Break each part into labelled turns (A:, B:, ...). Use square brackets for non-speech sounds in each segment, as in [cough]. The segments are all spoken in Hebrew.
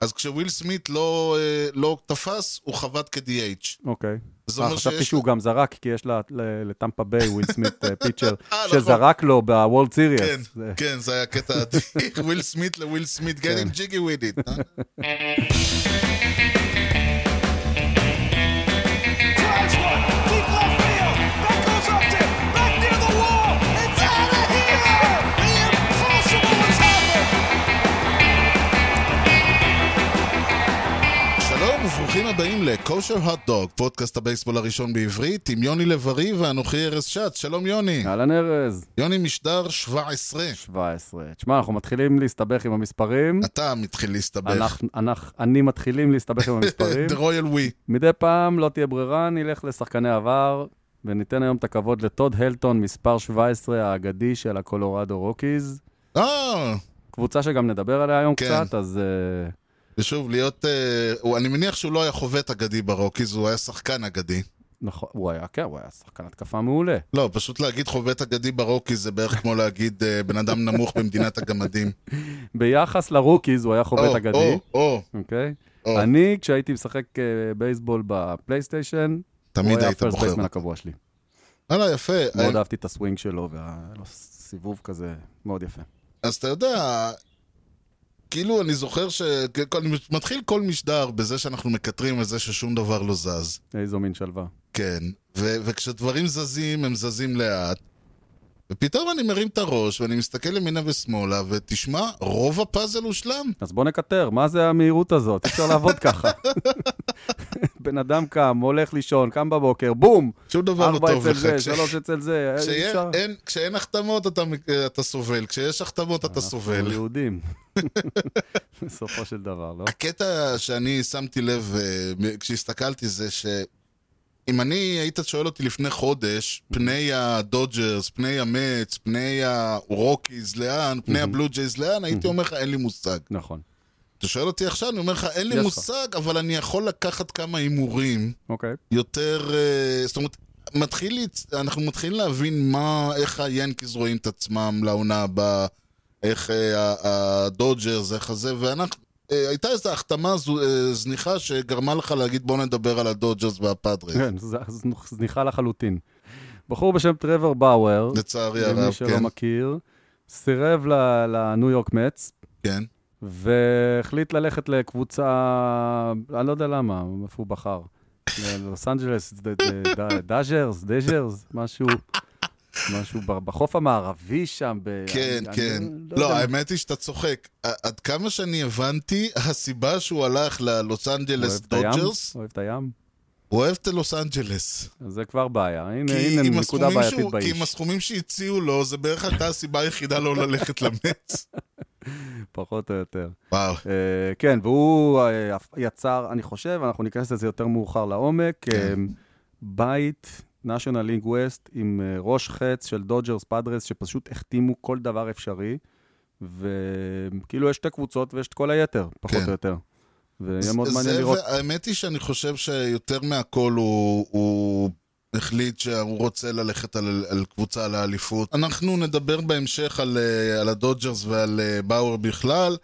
A: אז כשוויל סמית לא, אה, לא תפס, הוא חבט כ-DH.
B: אוקיי.
A: זה
B: אה,
A: אומר
B: חשבתי
A: שיש...
B: שהוא גם זרק, כי יש לה- ל- לטמפה ביי וויל
A: [laughs]
B: סמית אה, פיצ'ר,
A: אה, נכון.
B: שזרק לו בוולד
A: כן,
B: סיריאס. זה- כן.
A: כן, זה היה קטע עתיק. [laughs] וויל סמית לוויל סמית, get him jiggy with it. אה?
C: Drives one, deep left field. That goes up to, back near the wall. It's out of here. The impossible has happened.
A: שלום וברוכים הבאים ל-Kosher Hot Dog, פודקאסט הבייסבול הראשון בעברית, עם יוני לב-ארי ואנוכי ארז שץ. שלום יוני.
B: אהלן ארז,
A: יוני משדר 17.
B: 17. תשמע, אנחנו מתחילים להסתבך עם המספרים.
A: אתה מתחיל להסתבך. אה,
B: אנחנו, אנחנו, אני מתחילים להסתבך עם המספרים.
A: [laughs] The Royal We.
B: מדי פעם, לא תהיה ברירה, נלך לשחקני עבר, וניתן היום את הכבוד לטוד הלטון, מספר 17 האגדי של הקולורדו רוקיז.
A: אה,
B: קבוצה שגם נדבר עליה היום
A: כן.
B: קצת, אז אה,
A: ושוב, להיות... אה, הוא- אני מניח שהוא לא היה חובט אגדי ברוקיז, הוא היה שחקן אגדי.
B: נכון, הוא היה, כן, הוא היה שחקן התקפה מעולה.
A: לא, פשוט להגיד חובט אגדי ברוקיז זה בערך כמו להגיד אה, בן אדם נמוך במדינת הגמדים.
B: ביחס לרוקיז, הוא היה חובט
A: או,
B: אגדי,
A: או, או,
B: אוקיי?
A: או.
B: אני, כשהייתי משחק אה, בייסבול בפלייסטיישן, הוא
A: תמיד
B: היה
A: היית
B: הפרסט
A: בוחר. אה?
B: בייסמן הקבוע שלי.
A: וואלה, יפה. אה,
B: מאוד אהבתי את הסווינג שלו, והיה לו סיבוב כזה מאוד יפה.
A: אז אתה יודע, כאילו אני זוכר ש... אני מתחיל כל משדר בזה שאנחנו מקטרים על זה ששום דבר לא זז.
B: איזו מין שלווה.
A: כן. ו- וכשדברים זזים, הם זזים לאט. ופתאום אני מרים את הראש, ואני מסתכל ימינה ושמאלה, ותשמע, רוב הפאזל הושלם.
B: אז בוא נקטר, מה זה המהירות הזאת? אי אפשר
A: [laughs]
B: לעבוד ככה. בן אדם קם, הולך לישון, קם בבוקר, בום!
A: שום דבר לא
B: ארבע
A: טוב
B: אצל
A: לך. אה,
B: זה,
A: כש-
B: שלוש אצל זה, אה, אי
A: כשיש-
B: אפשר.
A: אין- כשאין החתמות אתה מק- אתה סובל, כשיש החתמות אתה
B: אנחנו
A: סובל. [laughs]
B: יהודים. בסופו של דבר, לא?
A: הקטע שאני שמתי לב אה, מ- כשהסתכלתי זה שאם אני היית שואל אותי לפני חודש, פני הדודג'רס, פני המץ, פני הרוקיז, לאן, פני הבלו ג'ייז, לאן, הייתי אומר לך אין לי מושג.
B: נכון.
A: אתה שואל אותי עכשיו, אני אומר לך אין לי
B: יש לך.
A: מושג, אבל אני יכול לקחת כמה הימורים
B: אוקיי.
A: יותר... אה, זאת אומרת... מתחיל, להצ- אנחנו מתחילים להבין מה, איך היאנקיז רואים את עצמם לעונה הבאה, איך אה, ה- הדודג'רס, איך הזה, ואנחנו, אה, הייתה איזו החתמה זו- אה, זניחה שגרמה לך להגיד בוא נדבר על הדודג'רס והפאדרס,
B: כן, ז- ז- זניחה לחלוטין. בחור בשם טרוור באואר,
A: לצערי
B: למי
A: הרב,
B: שלא
A: כן,
B: מכיר, סירב ל- לניו יורק מטס,
A: כן.
B: והחליט ללכת לקבוצה, אני לא יודע למה, איפה הוא בחר. ללוס אנג'לס, ד- ד- ד- דאז'רס, דאז'רס, משהו, משהו ב- בחוף המערבי שם. ב-
A: כן,
B: אני-
A: כן.
B: אני
A: לא,
B: יודע.
A: האמת היא שאתה צוחק. ע- עד כמה שאני הבנתי, הסיבה שהוא הלך ללוס
B: הוא
A: אנג'לס
B: אוהב את הים?
A: דודג'רס,
B: אוהב את הים?
A: הוא אוהב את לוס אנג'לס.
B: אז זה כבר בעיה. הנה,
A: כי עם
B: הנה נקודה
A: הסכומים
B: בעייתית
A: שהוא- כי עם
B: באיש.
A: הסכומים שהציעו לו, זה בערך הייתה הסיבה היחידה לא ללכת
B: [laughs]
A: למץ.
B: פחות או יותר.
A: וואו.
B: אה, כן, והוא אה, יצר, אני חושב, אנחנו ניכנס לזה יותר מאוחר לעומק, אה,
A: כן.
B: בית, national league west, עם אה, ראש חץ של דודג'רס פאדרס, שפשוט החתימו כל דבר אפשרי, וכאילו יש שתי קבוצות ויש את כל היתר, פחות
A: כן.
B: או יותר. ויהיה
A: זה-
B: מאוד מעניין
A: זה-
B: לראות.
A: האמת היא שאני חושב שיותר מהכל הוא- הוא החליט שהוא רוצה ללכת על על קבוצה על האליפות. אנחנו נדבר בהמשך על אה, על הדודג'רס ועל אה, באואר בכלל.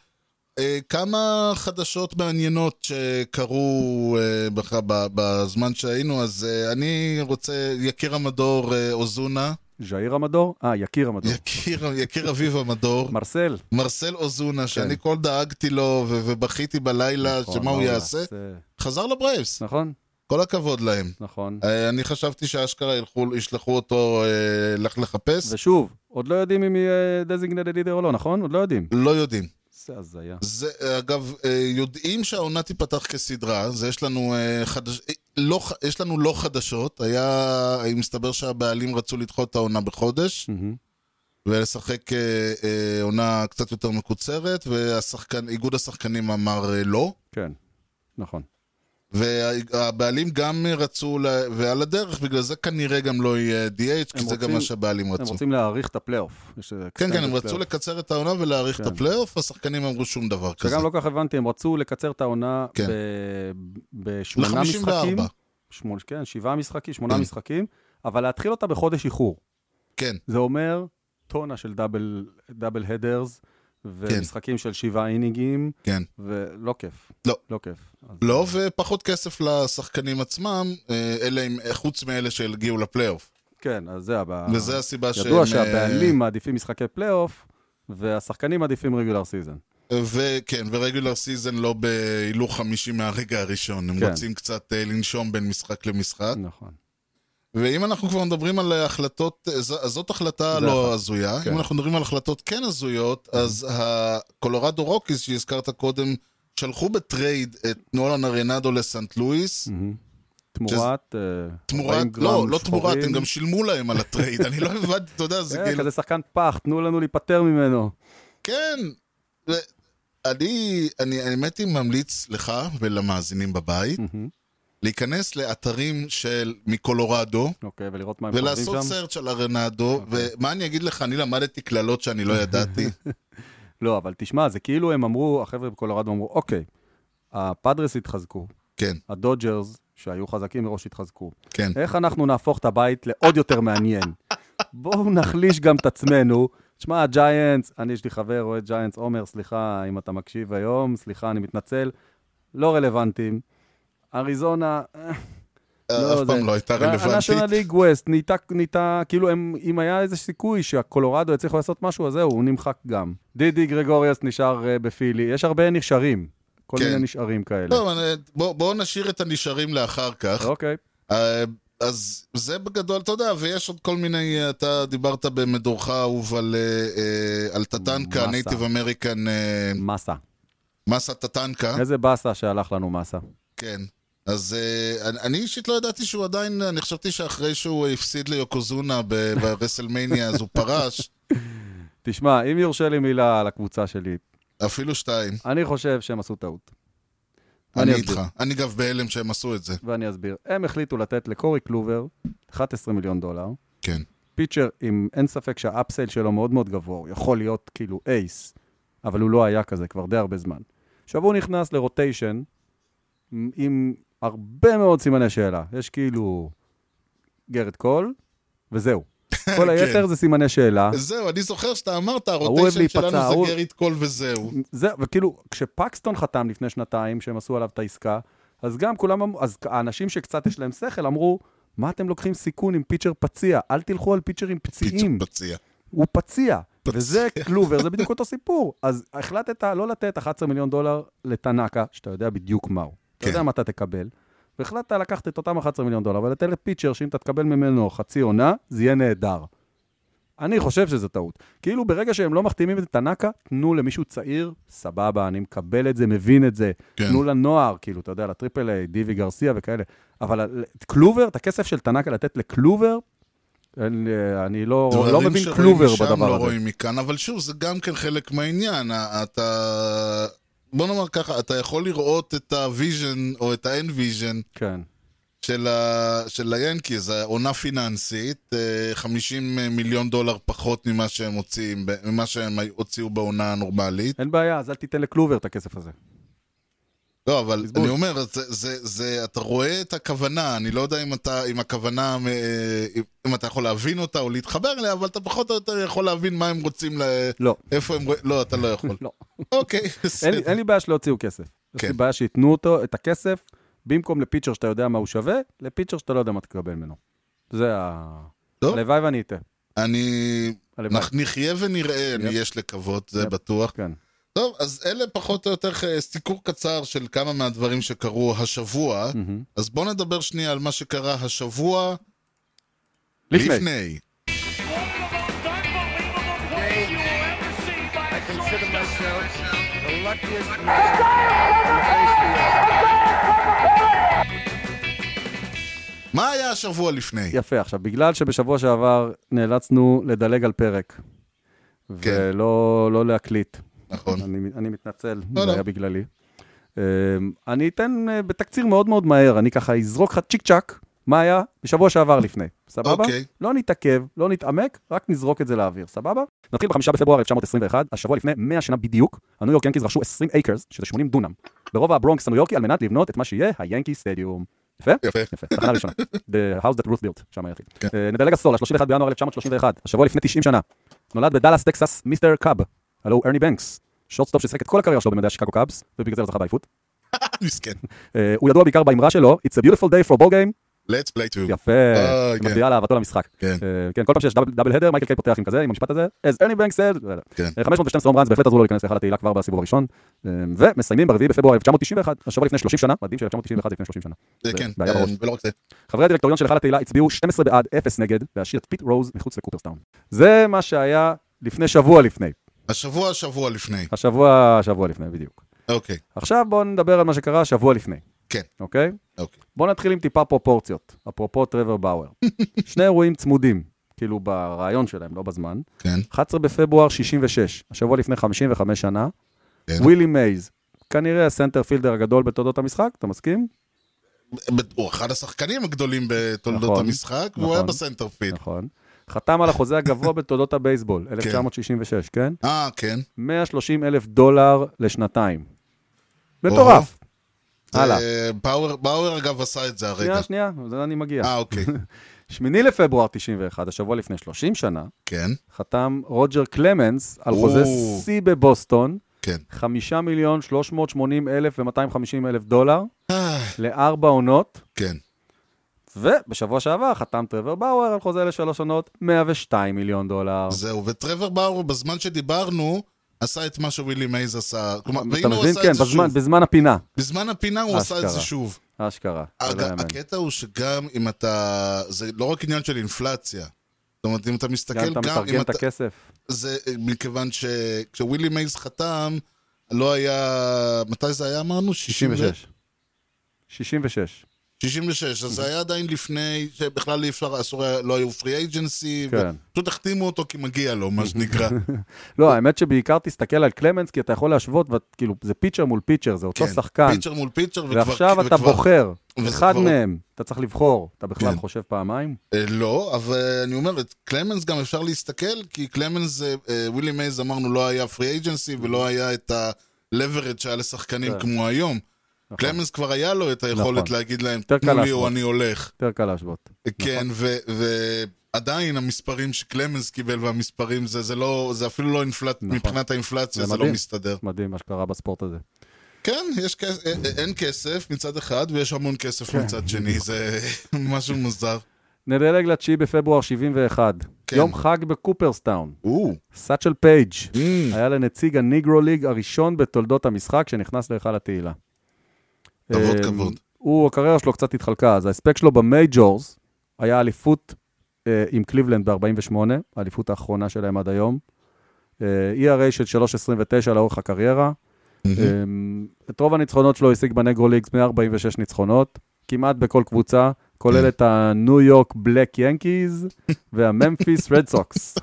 A: אה, כמה חדשות מעניינות שקרו אה, בח- ב- בזמן שהיינו, אז אה, אני רוצה, יקיר המדור אה, אוזונה,
B: ז'איר המדור? אה, יקיר המדור.
A: יקיר- יקיר אביב המדור,
B: מרסל.
A: מרסל אוזונה, שאני כל דאגתי לו ו- ובכיתי בלילה,
B: כן. נכון,
A: שמה הוא
B: מה
A: יעשה, חזר לברייבס,
B: נכון,
A: כל הכבוד להם.
B: נכון.
A: אה, אני חשבתי שאשכרה ילכו- ישלחו אותו אה, לך לחפש,
B: ושוב, עוד לא יודעים אם יהיה דזינגנדד לידר או לא, נכון? עוד לא יודעים.
A: לא יודעים.
B: זה הזיה.
A: זה, אה, אגב, אה, יודעים שהעונה תיפתח כסדרה, זה יש לנו אה, חדש... אה, לא, ח- יש לנו לא חדשות, היה... אה, מסתבר שהבעלים רצו לדחות את העונה בחודש.
B: מהמם.
A: ולשחק אה, אה, עונה קצת יותר מקוצרת, ואיגוד השחקנים אמר אה, לא.
B: כן, נכון.
A: והבעלים גם רצו, ל- ועל הדרך, בגלל זה כנראה גם לא יהיה DH, כי
B: הם
A: זה גם
B: רוצים-
A: מה שהבעלים
B: הם
A: רצו.
B: רוצים להאריך את הפלייאוף. יש איזה
A: כן, כן,
B: extended
A: הם רצו
B: playoff.
A: לקצר את העונה ולהאריך את
B: כן.
A: הפלייאוף, השחקנים אמרו שום דבר כזה.
B: שגם לא כל כך הבנתי, הם רצו לקצר את העונה
A: כן.
B: ב- בשמונה משחקים.
A: ל-54.
B: שמונה, כן, שבעה משחקים, שמונה
A: כן.
B: משחקים, אבל להתחיל אותה בחודש איחור.
A: כן,
B: זה אומר טונה של דאבל, דאבל הדרס, ומשחקים של שבעה אינינגים,
A: כן.
B: ולא כיף.
A: לא.
B: לא כיף. אז-
A: לא, ופחות כסף לשחקנים עצמם, אה, אלה עם, חוץ מאלה שהגיעו לפלייאוף.
B: כן, אז זה הבעיה.
A: וזה הסיבה שהם...
B: ידוע
A: אה,
B: שהבעלים מעדיפים משחקי פלייאוף, והשחקנים מעדיפים רגולר סיזן.
A: וכן, ורגולר סיזן לא בהילוך חמישי מהרגע הראשון, הם
B: כן.
A: רוצים קצת אה, לנשום בין משחק למשחק.
B: נכון.
A: ואם אנחנו כבר מדברים על החלטות, אה, ז- אז זאת החלטה
B: זה
A: לא
B: אחת.
A: הזויה.
B: כן.
A: אם אנחנו מדברים על החלטות כן הזויות, אז הקולורדו רוקיס שהזכרת קודם, שלחו בטרייד את נולן ארנדו לסנט לואיס.
B: מהמם. תמורת... אה, 40
A: תמורת,
B: Mm. גרם
A: לא, לא תמורת,
B: שחורים.
A: הם גם שילמו להם על
B: [laughs]
A: הטרייד, אני לא הבנתי, אתה יודע, זה
B: אה,
A: כאילו,
B: כזה שחקן פח, תנו לנו להיפטר ממנו.
A: כן. ו- אני, אני, האמת היא, ממליץ לך ולמאזינים בבית,
B: מהמם.
A: להיכנס לאתרים של מקולורדו,
B: אוקיי, ולראות מה הם חושבים
A: ולעשות
B: שם.
A: סרצ' על ארנדו, ומה אני אגיד לך, אני למדתי קללות שאני
B: [laughs]
A: לא ידעתי.
B: לא, אבל תשמע, זה כאילו הם אמרו, החבר'ה בקולורדו אמרו, אוקיי, הפאדרס התחזקו,
A: כן,
B: הדודג'רס, שהיו חזקים מראש, התחזקו.
A: כן.
B: איך אנחנו נהפוך את הבית לעוד יותר [laughs] מעניין? בואו נחליש גם את עצמנו. תשמע, הג'יינטס, אני יש לי חבר, רואה ג'יינטס, עומר, סליחה אם אתה מקשיב היום, סליחה, אני מתנצל, לא רלוונטיים. אריזונה, אה,
A: אף
B: זה-
A: פעם לא הייתה רלוונטית.
B: ה-National League West נהייתה, נהייתה, כאילו, הם, אם היה איזה סיכוי שהקולורדו יצליחו לעשות משהו, אז זהו, הוא נמחק גם. דידי גרגוריאס נשאר אה, בפילי, יש הרבה נשארים, כל
A: כן.
B: מיני נשארים כאלה.
A: טוב, אני- בוא- בואו נשאיר את הנשארים לאחר כך.
B: אוקיי,
A: אה, אז זה בגדול, אתה יודע, ויש עוד כל מיני, אתה דיברת במדורך האהוב על, אה, אה, על טטנקה,
B: מסה.
A: נייטיב אמריקן,
B: מסה.
A: מסה טטנקה,
B: איזה באסה שהלך לנו מסה.
A: כן. אז אה, אני- אני אישית לא ידעתי שהוא עדיין, אני חשבתי שאחרי שהוא הפסיד ליוקוזונה ב- [laughs] ברסלמניה אז הוא פרש,
B: תשמע, אם יורשה לי מילה על הקבוצה שלי,
A: אפילו שתיים.
B: אני חושב שהם עשו טעות.
A: אני
B: ואני
A: איתך.
B: אסביר.
A: אני גם בהלם שהם עשו את זה.
B: ואני אסביר. הם החליטו לתת לקורי קלובר 11 מיליון דולר.
A: כן.
B: פיצ'ר עם אין ספק שהאפסייל שלו מאוד מאוד גבוה, הוא יכול להיות כאילו אייס, אבל הוא לא היה כזה כבר די הרבה זמן. עכשיו הוא נכנס לרוטיישן עם- עם הרבה מאוד סימני שאלה. יש כאילו גרד קול, וזהו. כל היתר זה סימני שאלה.
A: זהו, אני זוכר שאתה אמרת,
B: אוהב
A: הרוטיישן
B: להיפצע,
A: שלנו
B: ההוא-
A: זה גריט קול וזהו.
B: זה, וכאילו, כשפקסטון חתם לפני שנתיים, שהם עשו עליו את העסקה, אז גם כולם אמרו, אז האנשים שקצת יש להם שכל אמרו, מה אתם לוקחים סיכון עם פיצ'ר פציע? אל תלכו על פיצ'רים
A: פיצ'ר
B: פציעים,
A: פציע.
B: הוא פציע.
A: פציע.
B: וזה קלובר, זה בדיוק אותו סיפור. אז החלטת לא לתת 11 מיליון דולר לטנאקה, שאתה יודע בדיוק מהו. אתה
A: כן.
B: יודע מה אתה תקבל, והחלטת לקחת את אותם 11 מיליון דולר ולתת לפיצ'ר, שאם אתה תקבל ממנו חצי עונה, זה יהיה נהדר. אני חושב שזו טעות. כאילו ברגע שהם לא מחתימים את טנאקה, תנו למישהו צעיר, סבבה, אני מקבל את זה, מבין את זה.
A: כן.
B: כן. תנו לנוער, כאילו, אתה יודע, לטריפל איי, דיבי גרסיה וכאלה. אבל ה- את קלובר, את הכסף של טנאקה לתת לקלובר, אין, אה, אני לא, לא
A: דברים
B: מבין
A: שרואים
B: קלובר
A: משם,
B: בדבר
A: לא
B: הזה.
A: רואים מכאן, אבל שוב, זה גם כן חלק מהעניין. ה- אתה... בוא נאמר ככה, אתה יכול לראות את הוויז'ן או את האין ויז'ן
B: כן,
A: של, ה... של היאנקיז, העונה פיננסית, אה, 50 מיליון דולר פחות ממה שהם מוציאים, ב- ממה שהם הוציאו בעונה הנורמלית.
B: אין בעיה, אז אל תיתן לקלובר את הכסף הזה.
A: לא, אבל
B: בזבוז.
A: אני אומר, זה, זה, זה, אתה רואה את הכוונה, אני לא יודע אם אתה, אם הכוונה, אה, אם, אם אתה יכול להבין אותה או להתחבר אליה, אבל אתה פחות או יותר יכול להבין מה הם רוצים ל...
B: לא,
A: איפה הם רואים? לא, אתה לא יכול.
B: [laughs] לא.
A: אוקיי,
B: אין, לי-
A: בסדר.
B: אין לי בעיה שלא הוציאו כסף. יש לי
A: כן.
B: בעיה שייתנו אותו, את הכסף, במקום לפיצ'ר שאתה יודע מה הוא שווה, לפיצ'ר שאתה לא יודע מה תקבל ממנו. זה ה...
A: טוב.
B: הלוואי ואני אטעה.
A: אני...
B: הלוואי.
A: אנחנו נחיה ונראה, אני- יש לקוות, זה
B: יפ.
A: בטוח.
B: כן.
A: טוב, אז אלה פחות או יותר אה, סיקור קצר של כמה מהדברים שקרו השבוע.
B: מהמם.
A: אז בואו נדבר שנייה על מה שקרה השבוע
B: לפני.
A: לפני.
D: I consider myself the luckiest man.
A: מה היה השבוע לפני?
B: יפה, עכשיו, בגלל שבשבוע שעבר נאלצנו לדלג על פרק, ולא לא להקליט,
A: כן. נכון.
B: אני, אני מתנצל,
A: לא,
B: זה
A: לא.
B: היה בגללי. אמ, אני אתן אה, בתקציר מאוד מאוד מהר, אני ככה אזרוק לך צ'יק צ'אק, מה היה בשבוע שעבר לפני, סבבה?
A: אוקיי.
B: לא נתעכב, לא נתעמק, רק נזרוק את זה לאוויר, סבבה? נתחיל בחמישה בפברואר 1921, השבוע לפני 100 שנה בדיוק, הניו יורק ינקיז רכשו 20 acres, שזה 80 דונם, ברובע הברונקס הניו יורקי על מנת לבנות את מה שיהיה היאנקי סטדיום. יפה?
A: יפה.
B: יפה, תחנה ראשונה. The house that Ruth built, שם היחיד.
A: כן.
B: אה, נדלג עשור, ל-31 בינואר 1931, השבוע לפני 90 שנה. נולד בדאלאס, טקסס, מיסטר קאב, הלו הוא ארני בנקס, שורטסטופ ששיחק את כל הקריירה שלו במדעי השיקגו קאבס, ובגלל זה הוא זכה באליפות.
A: מסכן.
B: אה, הוא ידוע בעיקר באמרה שלו, It's a beautiful day for a ball game,
A: let's play to.
B: יפה,
A: אה, כן.
B: מקבילה לאהבתו למשחק.
A: כן.
B: אה, כן, כל פעם שיש דאבל- דאבל הדר, מייקל קיי פותח עם כזה, עם המשפט הזה, as Ernie Banks said,
A: כן.
B: אה, 512 הום ראנס בהחלט עזרו לו להיכנס להיכל התהילה כבר בסיבוב הראשון, אה, ומסיימים ברביעי בפברואר 1991, השבוע לפני 30 שנה, מדהים ש-1991 זה לפני 30 שנה.
A: זה
B: זה
A: כן,
B: בעיה
A: אה,
B: בראש.
A: ולא רק זה.
B: חברי הדירקטוריון של היכל התהילה הצביעו 12 בעד, 0 נגד, להשאיר את פיט רוז מחוץ לקופרסטאון. זה מה שהיה לפני שבוע לפני,
A: השבוע, שבוע לפני.
B: השבוע, שבוע לפני, בדיוק.
A: אוקיי,
B: עכשיו בואו נדבר על מה שקרה שבוע לפני,
A: כן,
B: אוקיי?
A: אוקיי.
B: בואו נתחיל עם טיפה פרופורציות, אפרופו
A: [laughs]
B: טרוור באואר. שני אירועים צמודים, כאילו ברעיון שלהם, לא בזמן.
A: כן,
B: 11 בפברואר 66, השבוע לפני 55 שנה,
A: כן.
B: ווילי מייז, כנראה הסנטר פילדר הגדול בתולדות המשחק, אתה מסכים?
A: הוא אחד השחקנים הגדולים בתולדות
B: נכון,
A: המשחק, והוא
B: נכון.
A: היה בסנטרפיד.
B: נכון. חתם על החוזה הגבוה בתולדות
A: [laughs]
B: הבייסבול, 1966, כן?
A: אה, כן.
B: 130 אלף דולר לשנתיים. מטורף. הלאה.
A: אה, באואר- באואר אגב עשה את זה הרגע.
B: שנייה, שנייה, זה אני מגיע.
A: אה,
B: [laughs]
A: אוקיי,
B: 8 לפברואר 91, השבוע לפני 30 שנה,
A: כן,
B: חתם רוג'ר קלמנס על
A: או.
B: חוזה שיא בבוסטון,
A: כן.
B: 5 מיליון 380 אלף ו-250 אלף דולר,
A: אה,
B: לארבע עונות,
A: כן.
B: ובשבוע שעבר חתם טרוור באואר על חוזה לשלוש עונות, 102 מיליון דולר.
A: זהו, וטרוור באור, בזמן שדיברנו, עשה את מה שווילי מייז עשה. כלומר,
B: אתה
A: והנה הוא
B: מבין?
A: עשה
B: כן,
A: את זה
B: בזמן-
A: שוב.
B: בזמן הפינה,
A: בזמן הפינה הוא עשה את זה
B: אשכרה.
A: שוב.
B: אשכרה. זה לא
A: אגב,
B: יאמן.
A: הקטע הוא שגם אם אתה... זה לא רק עניין של אינפלציה. זאת אומרת, אם אתה מסתכל,
B: גם אתה
A: אם
B: מתרגם את
A: אתה...
B: הכסף.
A: זה אה, מכיוון שכשווילי מייז חתם, לא היה... מתי זה היה אמרנו?
B: 66. 66.
A: 66, אז זה היה עדיין לפני שבכלל אי אפשר, אסור היה, לא היו פרי אייג'נסי,
B: כן.
A: פשוט החתימו אותו כי מגיע לו, מה
B: [laughs]
A: שנקרא.
B: לא, האמת שבעיקר תסתכל על קלמנס, כי אתה יכול להשוות, ואת- כאילו, זה פיצ'ר מול פיצ'ר, זה אותו
A: כן,
B: שחקן.
A: פיצ'ר מול פיצ'ר, וכבר...
B: ועכשיו אתה
A: וכבר-
B: בוחר,
A: וזה
B: אחד
A: כבר-
B: מהם, אתה צריך לבחור, אתה בכלל
A: כן.
B: חושב פעמיים?
A: אה, לא, אבל אני אומר, את קלמנס גם אפשר להסתכל, כי קלמנס, אה, אה, ווילי מייז אמרנו, לא היה פרי אייג'נסי ולא היה את ה-leverage שהיה לשחקנים
B: כן.
A: כמו היום. קלמנס כבר היה לו את היכולת
B: נכון.
A: להגיד להם,
B: יותר
A: תנו
B: קל
A: לי או
B: להשוות.
A: אני הולך.
B: יותר קל להשוות.
A: כן, ו- ועדיין המספרים שקלמנס קיבל והמספרים זה, זה לא, זה אפילו לא אינפלט,
B: נכון.
A: מבחינת האינפלציה,
B: זה
A: זה לא
B: מדהים.
A: מסתדר.
B: מדהים מה שקרה בספורט הזה.
A: כן, יש כס... אה, אה, אין כסף מצד אחד, ויש המון כסף
B: כן.
A: מצד שני, זה [laughs] משהו מוזר.
B: נדלג לתשיעי בפברואר 71,
A: כן.
B: יום חג בקופרסטאון.
A: או,
B: סאצ'ל פייג'
A: Mm.
B: היה לנציג הניגרו ליג הראשון בתולדות המשחק שנכנס להיכל התהילה.
A: כבוד,
B: אמ,
A: כבוד.
B: הוא, הקריירה שלו קצת התחלקה, אז ההספק שלו במייג'ורס היה אליפות אה, עם קליבלנד ב-48, האליפות האחרונה שלהם עד היום. אה, ERA של 3.29 לאורך הקריירה. אמ, את רוב הניצחונות שלו השיג בנגרו ליגס 146 ניצחונות, כמעט בכל קבוצה, כולל את הניו יורק בלק ינקיז והממפיס רד סוקס. [laughs]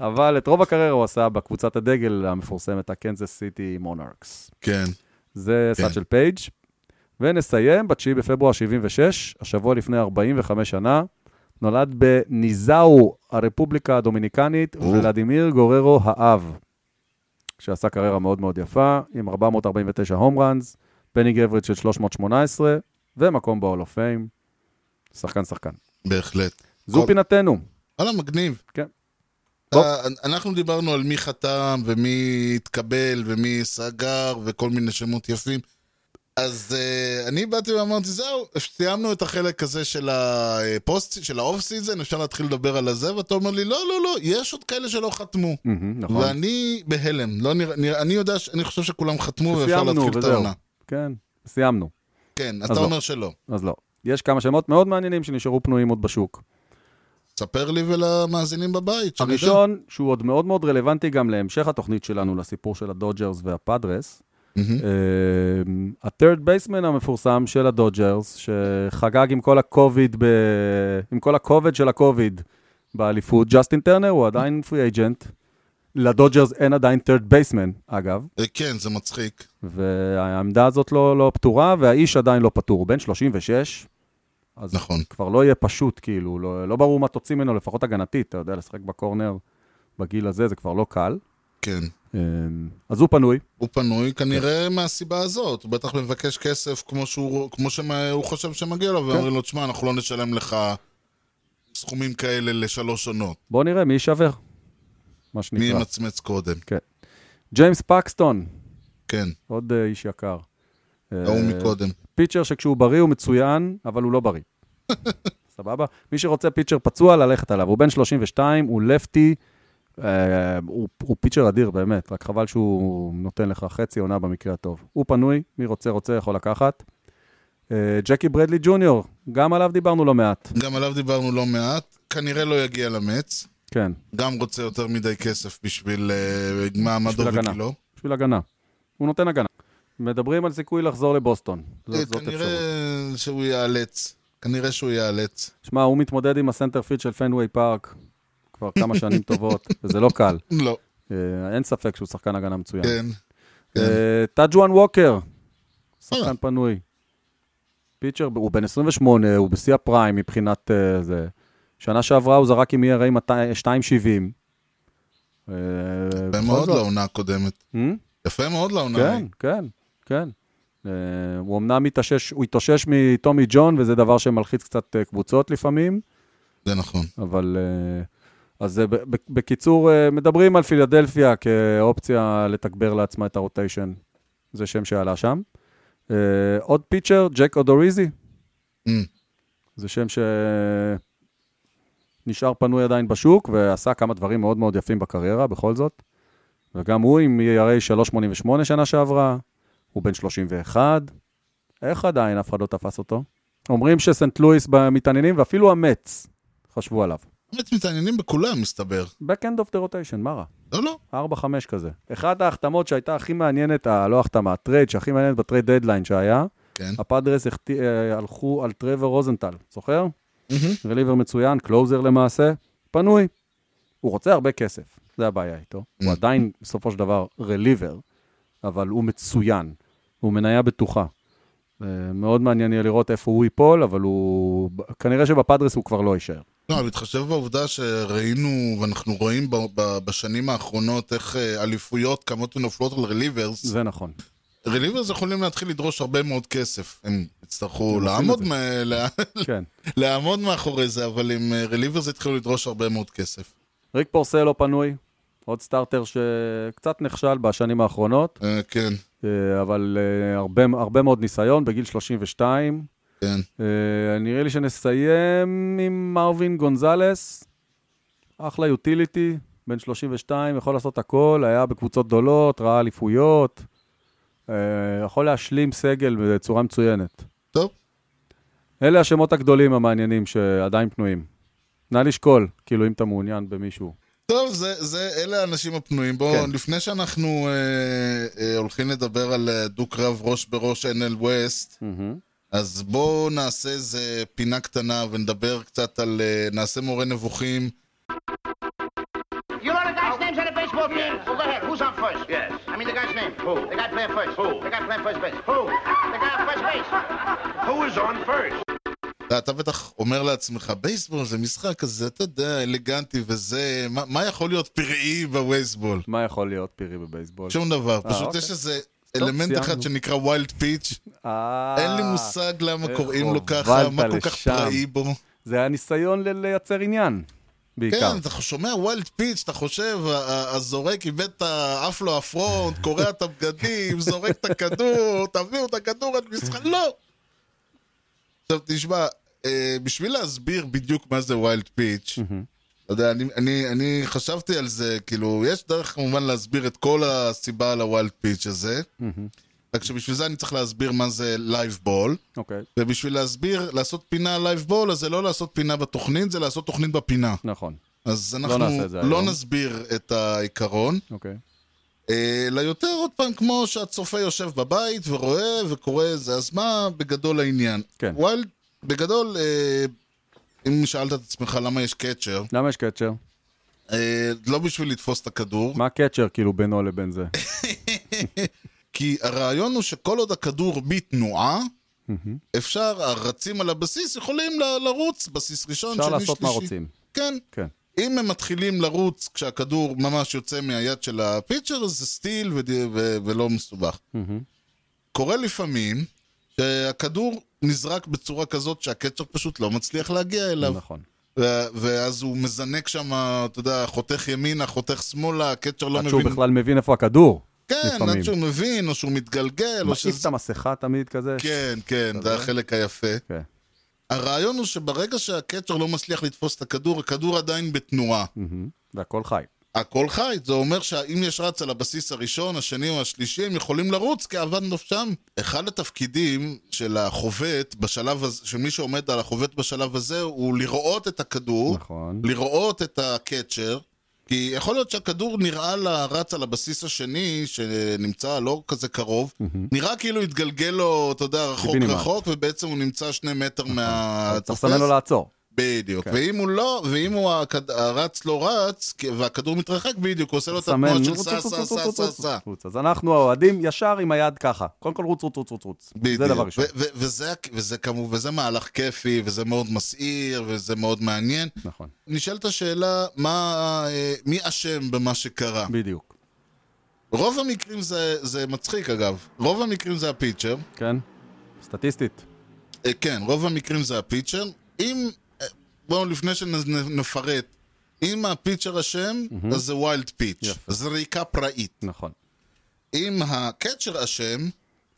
B: אבל את רוב הקריירה הוא עשה בקבוצת הדגל המפורסמת, הקנזס סיטי מונארקס.
A: כן.
B: זה
A: כן.
B: סאט של פייג'. ונסיים ב-9 בפברואר 76, השבוע לפני 45 שנה, נולד בניזאו, הרפובליקה הדומיניקנית,
A: או.
B: ולדימיר גוררו האב, שעשה קריירה מאוד מאוד יפה, עם 449 הום ראנס, פני גברד של 318, ומקום ב-all of fame. שחקן שחקן.
A: בהחלט.
B: זו
A: כל-
B: פינתנו.
A: וואלה, מגניב.
B: כן.
A: אה, אנחנו דיברנו על מי חתם, ומי התקבל, ומי סגר, וכל מיני שמות יפים. אז אה, אני באתי ואמרתי, זהו, סיימנו את החלק הזה של הפוסט, של האוף סיזן, אפשר להתחיל לדבר על הזה, ואתה אומר לי, לא, לא, לא, יש עוד כאלה שלא חתמו.
B: מהמם, נכון.
A: ואני בהלם, לא נראה, נראה, אני יודע, ש- אני חושב שכולם חתמו ואפשר
B: סיימנו,
A: להתחיל את
B: וזהו.
A: העונה.
B: כן, סיימנו.
A: כן,
B: אז
A: אתה
B: לא.
A: אומר שלא.
B: אז לא. יש כמה שמות מאוד מעניינים שנשארו פנויים עוד בשוק.
A: ספר לי ולמאזינים בבית, שנדע.
B: הראשון, שהוא עוד מאוד מאוד רלוונטי גם להמשך התוכנית שלנו, לסיפור של הדודג'רס והפאדרס,
A: מהמם.
B: אמ, ה-third baseman המפורסם של הדודג'רס, שחגג עם כל הקוביד, ב... עם כל הכובד של הקוביד באליפות, ג'סטין טרנר הוא עדיין פרי אייג'נט. לדודג'רס אין עדיין third baseman, אגב,
A: אה, כן, זה מצחיק.
B: והעמדה הזאת לא, לא פתורה, והאיש עדיין לא פטור, הוא בן 36. אז
A: נכון.
B: כבר לא יהיה פשוט, כאילו, לא, לא ברור מה תוציא ממנו, לפחות הגנתית, אתה יודע, לשחק בקורנר בגיל הזה זה כבר לא קל.
A: כן.
B: אמ, אז הוא פנוי,
A: הוא פנוי כנראה
B: כן.
A: מהסיבה הזאת, הוא בטח מבקש כסף כמו שהוא כמו שמה- הוא חושב שמגיע לו,
B: כן.
A: ואומרים לו, תשמע, אנחנו לא נשלם לך סכומים כאלה לשלוש עונות.
B: בוא נראה מי יישבר. מה
A: מי
B: שנקרא.
A: ימצמץ קודם?
B: ג'יימס פקסטון,
A: כן,
B: עוד אה, איש יקר. אה,
A: ההוא מקודם.
B: פיצ'ר שכשהוא בריא הוא מצוין, אבל הוא לא
A: [laughs]
B: בריא. סבבה? מי שרוצה פיצ'ר פצוע, ללכת עליו. הוא בן 32, הוא לפטי, אה, הוא, הוא פיצ'ר אדיר באמת, רק חבל שהוא נותן לך חצי עונה במקרה הטוב. הוא פנוי, מי רוצה רוצה יכול לקחת. אה, ג'קי ברדלי ג'וניור, גם עליו דיברנו לא מעט.
A: גם עליו דיברנו לא מעט, כנראה לא יגיע למץ.
B: כן,
A: גם רוצה יותר מדי כסף בשביל אה, מה מעמדו
B: בשביל הגנה.
A: וגילו.
B: בשביל הגנה. הוא נותן הגנה. מדברים על סיכוי לחזור לבוסטון. זו-
A: אה,
B: לא, זאת אפשרות.
A: כנראה שהוא ייאלץ. כנראה שהוא ייאלץ.
B: שמע, הוא מתמודד עם הסנטרפיד של פנוויי פארק כבר כמה
A: [laughs]
B: שנים טובות, וזה לא קל.
A: לא,
B: אה, אין ספק שהוא שחקן הגנה מצוין.
A: כן. כן.
B: אה, טאג'ואן ווקר,
A: אה.
B: שחקן פנוי. פיצ'ר, הוא בן 28, הוא בשיא הפריים מבחינת אה, זה. שנה שעברה הוא זרק עם E ERA 200 270. אה,
A: יפה
B: בכל
A: מאוד לא.
B: זאת-
A: לעונה הקודמת.
B: Hmm?
A: יפה מאוד לעונה.
B: כן, כן, כן. אה, הוא אמנם התאושש, הוא התאושש מטומי ג'ון, וזה דבר שמלחיץ קצת אה, קבוצות לפעמים,
A: זה נכון.
B: אבל... אה, אז אה, ב- ב- בקיצור, אה, מדברים על פילדלפיה כאופציה לתגבר לעצמה את הרוטיישן. זה שם שעלה שם. אה, עוד פיצ'ר, ג'ק אודוריזי.
A: Mm.
B: זה שם שנשאר פנוי עדיין בשוק, ועשה כמה דברים מאוד מאוד יפים בקריירה, בכל זאת. וגם הוא עם E ERA 3.88 שנה שעברה, הוא בן 31. איך עדיין אף אחד לא תפס אותו? אומרים שסנט לואיס מתעניינים, ואפילו המץ חשבו עליו.
A: באמת מתעניינים בכולם, מסתבר.
B: Back end of the rotation, מה רע?
A: לא, לא.
B: 4-5 כזה. אחת ההחתמות שהייתה הכי מעניינת, ה- לא החתמה, הטרייד שהכי מעניינת בטרייד דדליין שהיה,
A: כן.
B: הפאדרס החט- אה, הלכו על טרוור רוזנטל, זוכר? רליבר מצוין, קלוזר למעשה, פנוי. הוא רוצה הרבה כסף, זה הבעיה איתו. הוא
A: Mm.
B: עדיין, בסופו של דבר, רליבר, אבל הוא מצוין. הוא מניה בטוחה. אה, מאוד מעניין יהיה לראות איפה הוא ייפול, אבל הוא... כנראה שבפאדרס הוא כבר לא יישאר.
A: לא, בהתחשב בעובדה שראינו, ואנחנו רואים ב- ב- בשנים האחרונות איך אה, אליפויות קמות ונופלות על רליברס.
B: זה נכון.
A: רליברס יכולים להתחיל לדרוש הרבה מאוד כסף. הם יצטרכו
B: הם עושים
A: לעמוד,
B: את זה.
A: מה- לה- [laughs]
B: כן.
A: לעמוד מאחורי זה, אבל עם אה, רליברס יתחילו לדרוש הרבה מאוד כסף.
B: ריק פורסלו פנוי, עוד סטארטר שקצת נכשל בשנים האחרונות,
A: אה, כן,
B: אה, אבל אה, הרבה, הרבה מאוד ניסיון, בגיל 32.
A: כן.
B: אה, נראה לי שנסיים עם מרווין גונזלס, אחלה יוטיליטי, בן 32, יכול לעשות הכל, היה בקבוצות גדולות, ראה אליפויות, אה, יכול להשלים סגל בצורה מצוינת.
A: טוב.
B: אלה השמות הגדולים המעניינים שעדיין פנויים. נא לשקול, כאילו, אם אתה מעוניין במישהו.
A: טוב, זה, זה, אלה האנשים הפנויים. בואו,
B: כן.
A: כן. לפני שאנחנו אה, אה, הולכים לדבר על אה, דו-קרב ראש בראש NL West, אז בואו נעשה איזה פינה קטנה ונדבר קצת על... אה, נעשה מורה נבוכים.
E: You know the guy's names on the baseball team? Well, go ahead. Who's on first? Yes. I mean the guy's name. Who? The guy playing first. Who? The guy playing first base. Who? The guy on first base.
D: Who is on first?
A: אתה, אתה בטח אומר לעצמך, בייסבול זה משחק כזה, אתה יודע, אלגנטי וזה, מה, מה יכול להיות פראי בבייסבול?
B: מה יכול להיות פירי בבייסבול?
A: שום דבר, פשוט
B: אוקיי.
A: יש איזה
B: טוב,
A: אלמנט
B: סיימנו.
A: אחד שנקרא ויילד פיץ',
B: אה,
A: אין לי מושג למה
B: איך
A: קוראים לו ככה,
B: הובלת
A: מה כל כך
B: לשם.
A: פראי בו.
B: זה היה ניסיון ל- לייצר עניין, בעיקר.
A: כן, אתה שומע ווילד פיץ', אתה חושב, ה- ה- הזורק איבד את ה- עף לו הפרונט, קורע את הבגדים, זורק את הכדור, תביאו את הכדור עד משחק, לא! עכשיו תשמע, אה, בשביל להסביר בדיוק מה זה ווילד פיץ', אתה יודע, אני, אני, אני חשבתי על זה, כאילו, יש דרך כמובן להסביר את כל הסיבה על הווילד פיץ' הזה, רק שבשביל זה אני צריך להסביר מה זה לייב בול,
B: אוקיי,
A: ובשביל להסביר, לעשות פינה לייב בול, אז זה לא לעשות פינה בתוכנית, זה לעשות תוכנית בפינה.
B: נכון,
A: אז אנחנו
B: נעשה את זה
A: לא
B: היום.
A: נסביר את העיקרון,
B: אוקיי.
A: אלא יותר עוד פעם כמו שהצופה יושב בבית ורואה וקורא זה, אז מה בגדול העניין?
B: כן.
A: וואל, בגדול, אה, אם שאלת את עצמך למה יש קצ'ר,
B: למה יש קצ'ר?
A: אה, לא בשביל לתפוס את הכדור,
B: מה הקצ'ר כאילו בינו לבין זה?
A: כי הרעיון הוא שכל עוד הכדור בתנועה, אפשר, הרצים על הבסיס יכולים ל- לרוץ, בסיס ראשון, שני,
B: אפשר
A: שלישי.
B: לעשות מה רוצים.
A: כן.
B: כן,
A: אם הם מתחילים לרוץ כשהכדור ממש יוצא מהיד של הפיצ'ר, אז זה סטיל וד... ו... ולא מסובך. קורה לפעמים שהכדור נזרק בצורה כזאת שהקצ'ר פשוט לא מצליח להגיע אליו.
B: נכון.
A: ו- ואז הוא מזנק שם, אתה יודע, חותך ימינה, חותך שמאלה, הקצ'ר לא
B: עד
A: מבין.
B: שהוא בכלל מבין איפה הכדור.
A: כן,
B: לפעמים.
A: עד שהוא מבין, או שהוא מתגלגל, או
B: מעיף את המסכה תמיד כזה.
A: כן, כן,
B: אתה
A: זה
B: יודע?
A: החלק היפה.
B: כן.
A: הרעיון הוא שברגע שהקצ'ר לא מצליח לתפוס את הכדור, הכדור עדיין בתנועה.
B: מהמם. והכל חי.
A: הכל חי, זה אומר שאם יש רץ על הבסיס הראשון, השני או השלישי, הם יכולים לרוץ כאבן נפשם. אחד התפקידים של החובט בשלב הזה, של מי שעומד על החובט בשלב הזה, הוא לראות את הכדור,
B: נכון.
A: לראות את הקצ'ר, כי יכול להיות שהכדור נראה לרץ על הבסיס השני, שנמצא לא כזה קרוב, נראה כאילו התגלגל לו, אתה יודע, רחוק
B: קיבינימט.
A: רחוק, ובעצם הוא נמצא שני מטר
B: אבל נכון.
A: מהתופס.
B: צריך לסמן לו לעצור.
A: בדיוק.
B: כן.
A: ואם הוא לא, ואם הוא הכד- הרץ לא רץ, כי- והכדור מתרחק, בדיוק, הוא עושה לו את
B: סמן,
A: התנועה לא, של
B: רוץ,
A: סע,
B: רוץ,
A: סע,
B: רוץ,
A: סע,
B: רוץ,
A: סע,
B: רוץ,
A: סע.
B: רוץ. אז אנחנו האוהדים ישר עם היד ככה. קודם כל רוץ, רוץ, רוץ, רוץ, רוץ.
A: בדיוק.
B: זה דבר ראשון.
A: ו- ו- וזה- וזה כמובן, וזה מהלך כיפי, וזה מאוד מסעיר, וזה מאוד מעניין.
B: נכון.
A: נשאלת השאלה, מה, אה, מי אשם במה שקרה?
B: בדיוק.
A: רוב המקרים זה, זה מצחיק אגב, רוב המקרים זה הפיצ'ר,
B: כן? סטטיסטית.
A: אה, כן, רוב המקרים זה הפיצ'ר, אם, אה, בואו לפני שנפרט, אם הפיצ'ר אשם, mm-hmm. אז זה ויילד פיץ',
B: יפה.
A: זריקה פראית.
B: נכון.
A: אם הקצ'ר אשם,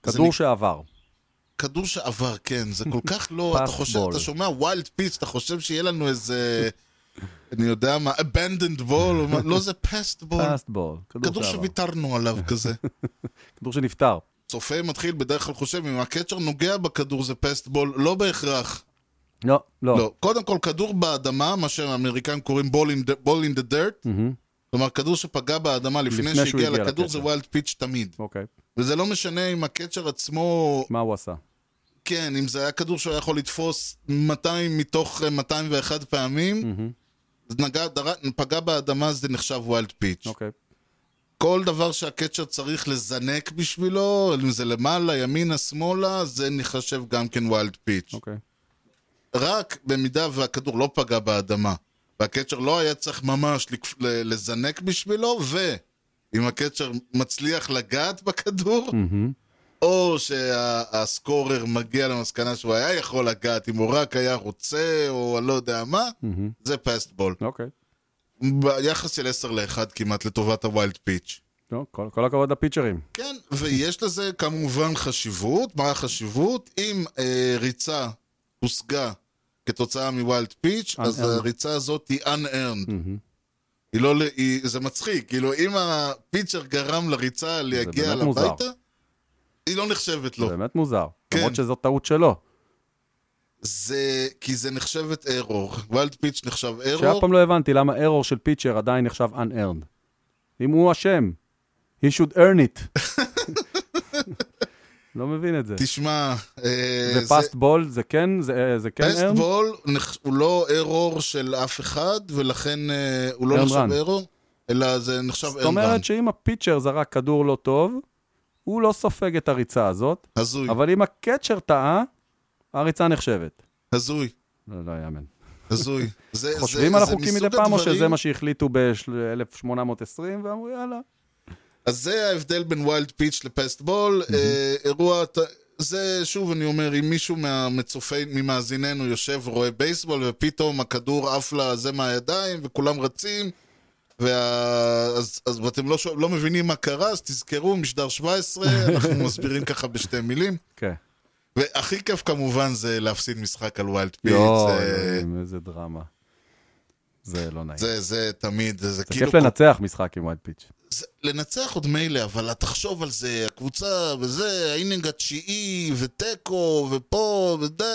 A: זה
B: כדור
A: נק-
B: שעבר.
A: כדור שעבר, כן, זה כל כך לא, אתה
B: פס
A: חושב,
B: בול.
A: אתה שומע ויילד פיץ', אתה חושב שיהיה לנו איזה, אני יודע מה, abandoned ball, לא זה פסט בול,
B: פאסט בול.
A: כדור
B: לא.
A: שוויתרנו עליו כזה.
B: כדור שנפטר.
A: צופה מתחיל בדרך כלל חושב, אם הקצ'ר נוגע בכדור זה פסטבול, לא בהכרח.
B: לא, לא.
A: לא. קודם כל, כדור באדמה, מה שהאמריקאים קוראים ball in the- ball in the dirt,
B: מהמם.
A: כלומר, כדור שפגע באדמה לפני
B: לפני שהוא
A: שהגיע
B: הגיע
A: לכדור זה
B: לקצ'ר.
A: ווילד פיץ' תמיד.
B: אוקיי.
A: וזה לא משנה אם הקצ'ר עצמו,
B: מה הוא עשה?
A: כן, אם זה היה כדור שהוא היה יכול לתפוס 200 מתוך אה, 201 פעמים,
B: מהמם.
A: אז נגע- דר- פגע באדמה זה נחשב ווילד פיץ'.
B: אוקיי.
A: כל דבר שהקצ'ר צריך לזנק בשבילו, אם זה למעלה, ימינה, שמאלה, זה נחשב גם כן ווילד פיץ'.
B: אוקיי.
A: רק במידה והכדור לא פגע באדמה, והקצ'ר לא היה צריך ממש לקפ- ל- לזנק בשבילו, ואם הקצ'ר מצליח לגעת בכדור,
B: מהמם.
A: או שהסקורר מגיע למסקנה שהוא היה יכול לגעת, אם הוא רק היה רוצה, או אני לא יודע מה,
B: מהמם.
A: זה פסטבול.
B: אוקיי.
A: ביחס של 10 ל-1 כמעט לטובת הווילד פיץ'.
B: לא, כל כל הכבוד לפיצ'רים.
A: כן, ויש לזה כמובן חשיבות. מה החשיבות? אם אה, ריצה הושגה כתוצאה מווילד פיץ', אז
B: Unearned.
A: הריצה הזאת היא unearned.
B: מהמם.
A: היא לא, ל- היא, זה מצחיק, כאילו אם הפיצ'ר גרם לריצה להגיע
B: באמת מוזר.
A: לביתה, היא לא נחשבת לו.
B: זה באמת מוזר.
A: כן.
B: למרות שזו טעות שלו.
A: זה, כי זה נחשבת ארור. ווילד פיץ' נחשב
B: שאף
A: ארור.
B: פעם לא הבנתי למה ארור של פיצ'ר עדיין נחשב unearned. אם הוא אשם, he should earn
A: [laughs]
B: it. לא מבין את זה.
A: תשמע, אה, זה-
B: ופאסט בול זה כן, זה זה כן
A: פסט
B: earned?
A: בול נח- הוא לא ארור של אף אחד, ולכן אה, הוא לא
B: ארן
A: נחשב
B: רן.
A: ארור, אלא זה נחשב
B: זאת
A: ארן רן.
B: אומרת שאם הפיצ'ר זרק כדור לא טוב, הוא לא סופג את הריצה הזאת,
A: הזוי,
B: אבל אם הקצ'ר טעה, הריצה נחשבת.
A: הזוי,
B: לא, לא יאמן. [laughs]
A: הזוי. זה-
B: חושבים
A: זה-
B: על
A: זה
B: החוקים
A: מסוג
B: מדי פעם, או
A: הדברים-
B: שזה מה שהחליטו ב-1820, ואמרו יאללה.
A: אז זה ההבדל בין ויילד פיץ' לפסט בול. אה, אירוע, ת- זה שוב אני אומר, אם מישהו מהמצופי, ממאזיננו יושב ורואה בייסבול, ופתאום הכדור עף לזה מהידיים, וכולם רצים, וה- אז אז ואתם לא שו- לא מבינים מה קרה, אז תזכרו, משדר 17, אנחנו
B: [laughs]
A: מסבירים ככה בשתי מילים.
B: כן.
A: והכי כיף כמובן זה להפסיד משחק על ויילד פיץ'.
B: לא,
A: זה-
B: אלוהים, איזה דרמה. זה לא נעים.
A: אה, זה, זה תמיד, זה, זה
B: זה
A: כאילו...
B: כיף לנצח משחק עם וייד פיץ'.
A: זה, לנצח עוד מילא, אבל תחשוב על זה, הקבוצה וזה, האינינג התשיעי, ותיקו, ופה, וזה,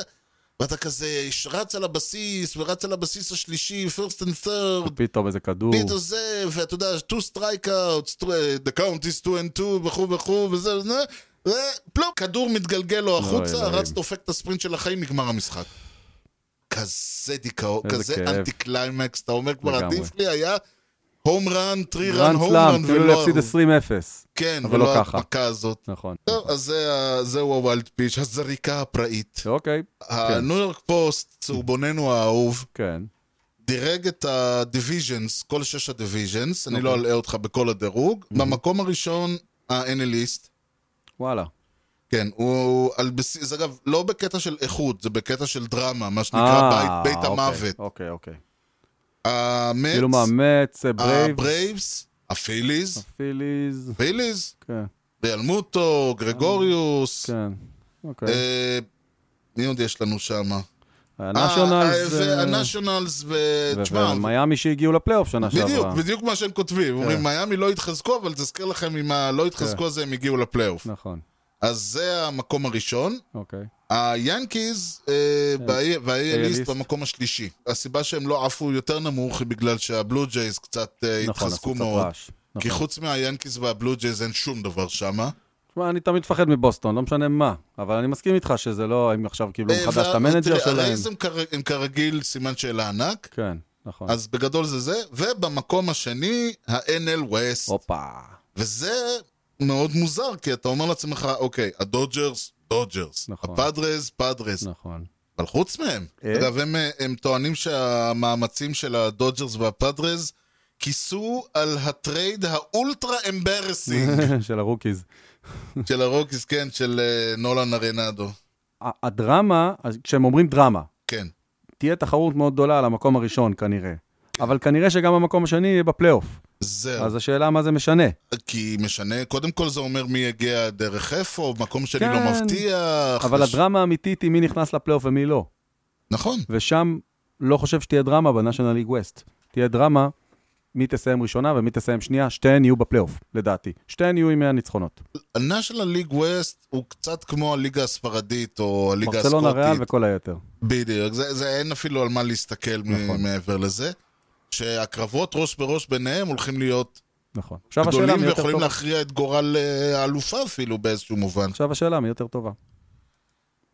A: ואתה כזה רץ על הבסיס, ורץ על הבסיס השלישי, first and third,
B: פתאום איזה כדור.
A: לא, פתאום זה, ואתה יודע, two strikeouts, two- uh, the count is two and two, וכו' וכו', וזה, וזה, ופלופ, כדור מתגלגל לו החוצה,
B: לא, אלוהים.
A: רץ, דופק את הספרינט של החיים, נגמר המשחק. כזה דיכאון,
B: איזה
A: כזה
B: כאב.
A: אנטי קליימקס, אתה אומר כבר,
B: לגמרי.
A: עדיף לי היה הום רן, טרי רן,
B: גרנד
A: הום
B: סלאם,
A: רן,
B: כאילו
A: ולא
B: להפסיד 20-0.
A: כן,
B: אבל
A: ולא
B: לא ככה.
A: ההדפקה הזאת.
B: נכון.
A: טוב, אז זה ה- זהו הווילד פיץ', הזריקה הפראית.
B: אוקיי,
A: אה, הניו יורק פוסט, צהובוננו האהוב,
B: כן.
A: דירג את הדיוויז'נס, כל שש הדיוויז'נס, אני לא אלאה אותך בכל הדירוג. במקום הראשון, ה-NLיסט,
B: וואלה.
A: כן, הוא על בסיס, זה אגב, לא בקטע של איכות, זה בקטע של דרמה, מה שנקרא בית,
B: אה,
A: בית
B: אוקיי,
A: המוות.
B: אוקיי, אוקיי.
A: המץ,
B: כאילו מאמץ,
A: אה,
B: ברייבס,
A: הברייבס, הפיליז,
B: פיליז,
A: פיליז,
B: כן,
A: ביאלמוטו, גרגוריוס,
B: כן. אוקיי.
A: אה, מי עוד יש לנו שם? אה,
B: הנשיונלס... אה,
A: הנשיונלס,
B: ו-
A: ותשמע,
B: ומיאמי שהגיעו לפלייאוף שנה שעברה. כן.
A: בדיוק, בדיוק מה שהם כותבים. אומרים, מיאמי לא התחזקו, אבל תזכיר לכם עם הלא התחזקו הזה הם הגיעו לפלייאוף.
B: נכון,
A: אז זה המקום הראשון.
B: אוקיי.
A: אה, היאנקיז אה, באי- באי
B: באי
A: אליסט
B: כן. אליסט.
A: במקום השלישי. הסיבה שהם לא עפו יותר נמוך היא בגלל שהבלו ג'ייז קצת אה,
B: נכון,
A: התחזקו
B: עשו קצת
A: מאוד.
B: רעש.
A: כי
B: נכון.
A: חוץ מהיאנקיז והבלו ג'ייז אין שום דבר שמה.
B: תשמע, אני תמיד מפחד מבוסטון, לא משנה מה. אבל אני מסכים איתך שזה לא, הם עכשיו קיבלו
A: אה,
B: מחדש את
A: וה-
B: המנג'ר
A: תראה,
B: שלהם.
A: הרייז הם כר- הם כרגיל סימן שאלה ענק,
B: כן, נכון.
A: אז בגדול זה זה. ובמקום השני, ה-NL West.
B: הופה.
A: וזה מאוד מוזר, כי אתה אומר לעצמך, אוקיי, הדודג'רס, דודג'רס,
B: נכון.
A: הפאדרס, פאדרס,
B: נכון.
A: אבל חוץ מהם.
B: אה?
A: אגב, הם, הם טוענים שהמאמצים של הדודג'רס והפאדרס כיסו על הטרייד האולטרה
B: [laughs]
A: אמברסינג
B: של הרוקיז.
A: של הרוקיס, כן, של אה, נולן ארנדו.
B: ה- הדרמה, אז כשהם אומרים דרמה,
A: כן,
B: תהיה תחרות מאוד גדולה על המקום הראשון כנראה. אבל כנראה שגם המקום השני יהיה בפלייאוף.
A: זהו.
B: אז השאלה מה זה משנה.
A: כי משנה, קודם כל זה אומר מי יגיע דרך איפה, מקום שני
B: כן.
A: לא מבטיח.
B: אבל
A: יש-
B: הדרמה האמיתית היא מי נכנס לפלייאוף ומי לא.
A: נכון,
B: ושם לא חושב שתהיה דרמה בנאשונל ליג ווסט. תהיה דרמה מי תסיים ראשונה ומי תסיים שנייה, שתיהן יהיו בפלייאוף, לדעתי. שתיהן יהיו עם 100 ניצחונות.
A: ה-National League West הוא קצת כמו הליגה הספרדית או הליגה
B: ברצלונה ריאל
A: הסקוטית.
B: וכל היתר.
A: בדיוק, זה, זה אין אפילו על מה להסתכל נכון.
B: נכון.
A: מעבר לזה. שהקרבות ראש בראש ביניהם הולכים להיות
B: נכון. עכשיו השאלה
A: גדולים
B: מי יותר
A: ויכולים
B: טובה.
A: להכריע את גורל אה, האלופה אפילו באיזשהו מובן.
B: עכשיו השאלה מי יותר טובה.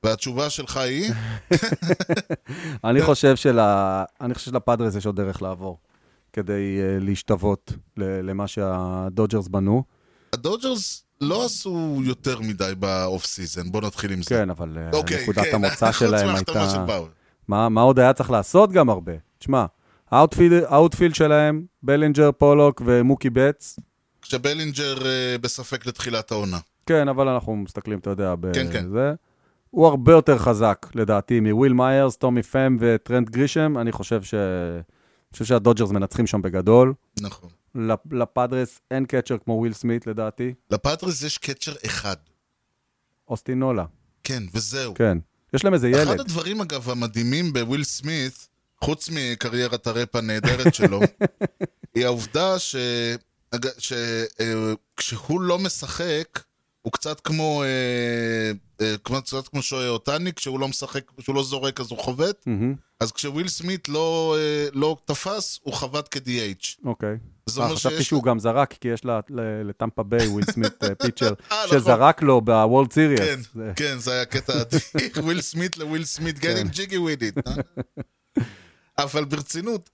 A: והתשובה שלך
B: [laughs]
A: היא? כן.
B: אני חושב שלה- אני חושב שלפאדרס יש עוד דרך לעבור כדי אה, להשתוות ל- למה שהדודג'רס בנו.
A: הדודג'רס לא עשו יותר מדי באוף סיזן, בוא נתחיל עם זה.
B: כן, אבל אה,
A: אוקיי,
B: נקודת
A: כן,
B: המוצא שלהם
A: [laughs] חוץ מההחתמה של
B: הייתה...
A: באואר.
B: מה, מה עוד היה צריך לעשות גם הרבה? תשמע, האוטפילד, האוטפילד שלהם, בלינג'ר, פולוק ומוקי בטס,
A: כשבלינג'ר אה, בספק לתחילת העונה.
B: כן, אבל אנחנו מסתכלים, אתה יודע, ב-
A: כן, כן.
B: זה. הוא הרבה יותר חזק, לדעתי, מוויל מיירס, טומי פם וטרנד גרישם. אני חושב ש... אני חושב שהדודג'רס מנצחים שם בגדול.
A: נכון.
B: לפ- לפאדרס אין קאצ'ר כמו וויל סמית, לדעתי.
A: לפטריס יש קצ'ר אחד.
B: אוסטין נולה,
A: כן, וזהו.
B: כן. יש להם איזה
A: אחד
B: ילד.
A: הדברים, אגב, המדהימים בוויל סמית, חוץ מקריירת הראפ הנהדרת
B: [laughs]
A: שלו, היא העובדה ש... אג- ש... אה, כשהוא לא משחק, הוא קצת כמו... אה, אה, כמו- קצת כמו שוער אותני, כשהוא לא משחק, כשהוא לא זורק אז הוא חובט.
B: מהמם,
A: אז כשוויל סמית לא, אה, לא תפס, הוא חבט כ-DH.
B: אוקיי.
A: זה
B: אה,
A: אומר
B: חשבתי
A: שיש...
B: שהוא גם זרק, כי יש ל- ל- לטמפה ביי וויל
A: [laughs]
B: סמית אה, פיצ'ר,
A: נכון.
B: שזרק לו
A: כן,
B: בוולד סיריאס.
A: כן, זה היה קטע עתיק, וויל סמית לוויל סמית, get him jiggy with it. אה? אבל ברצינות,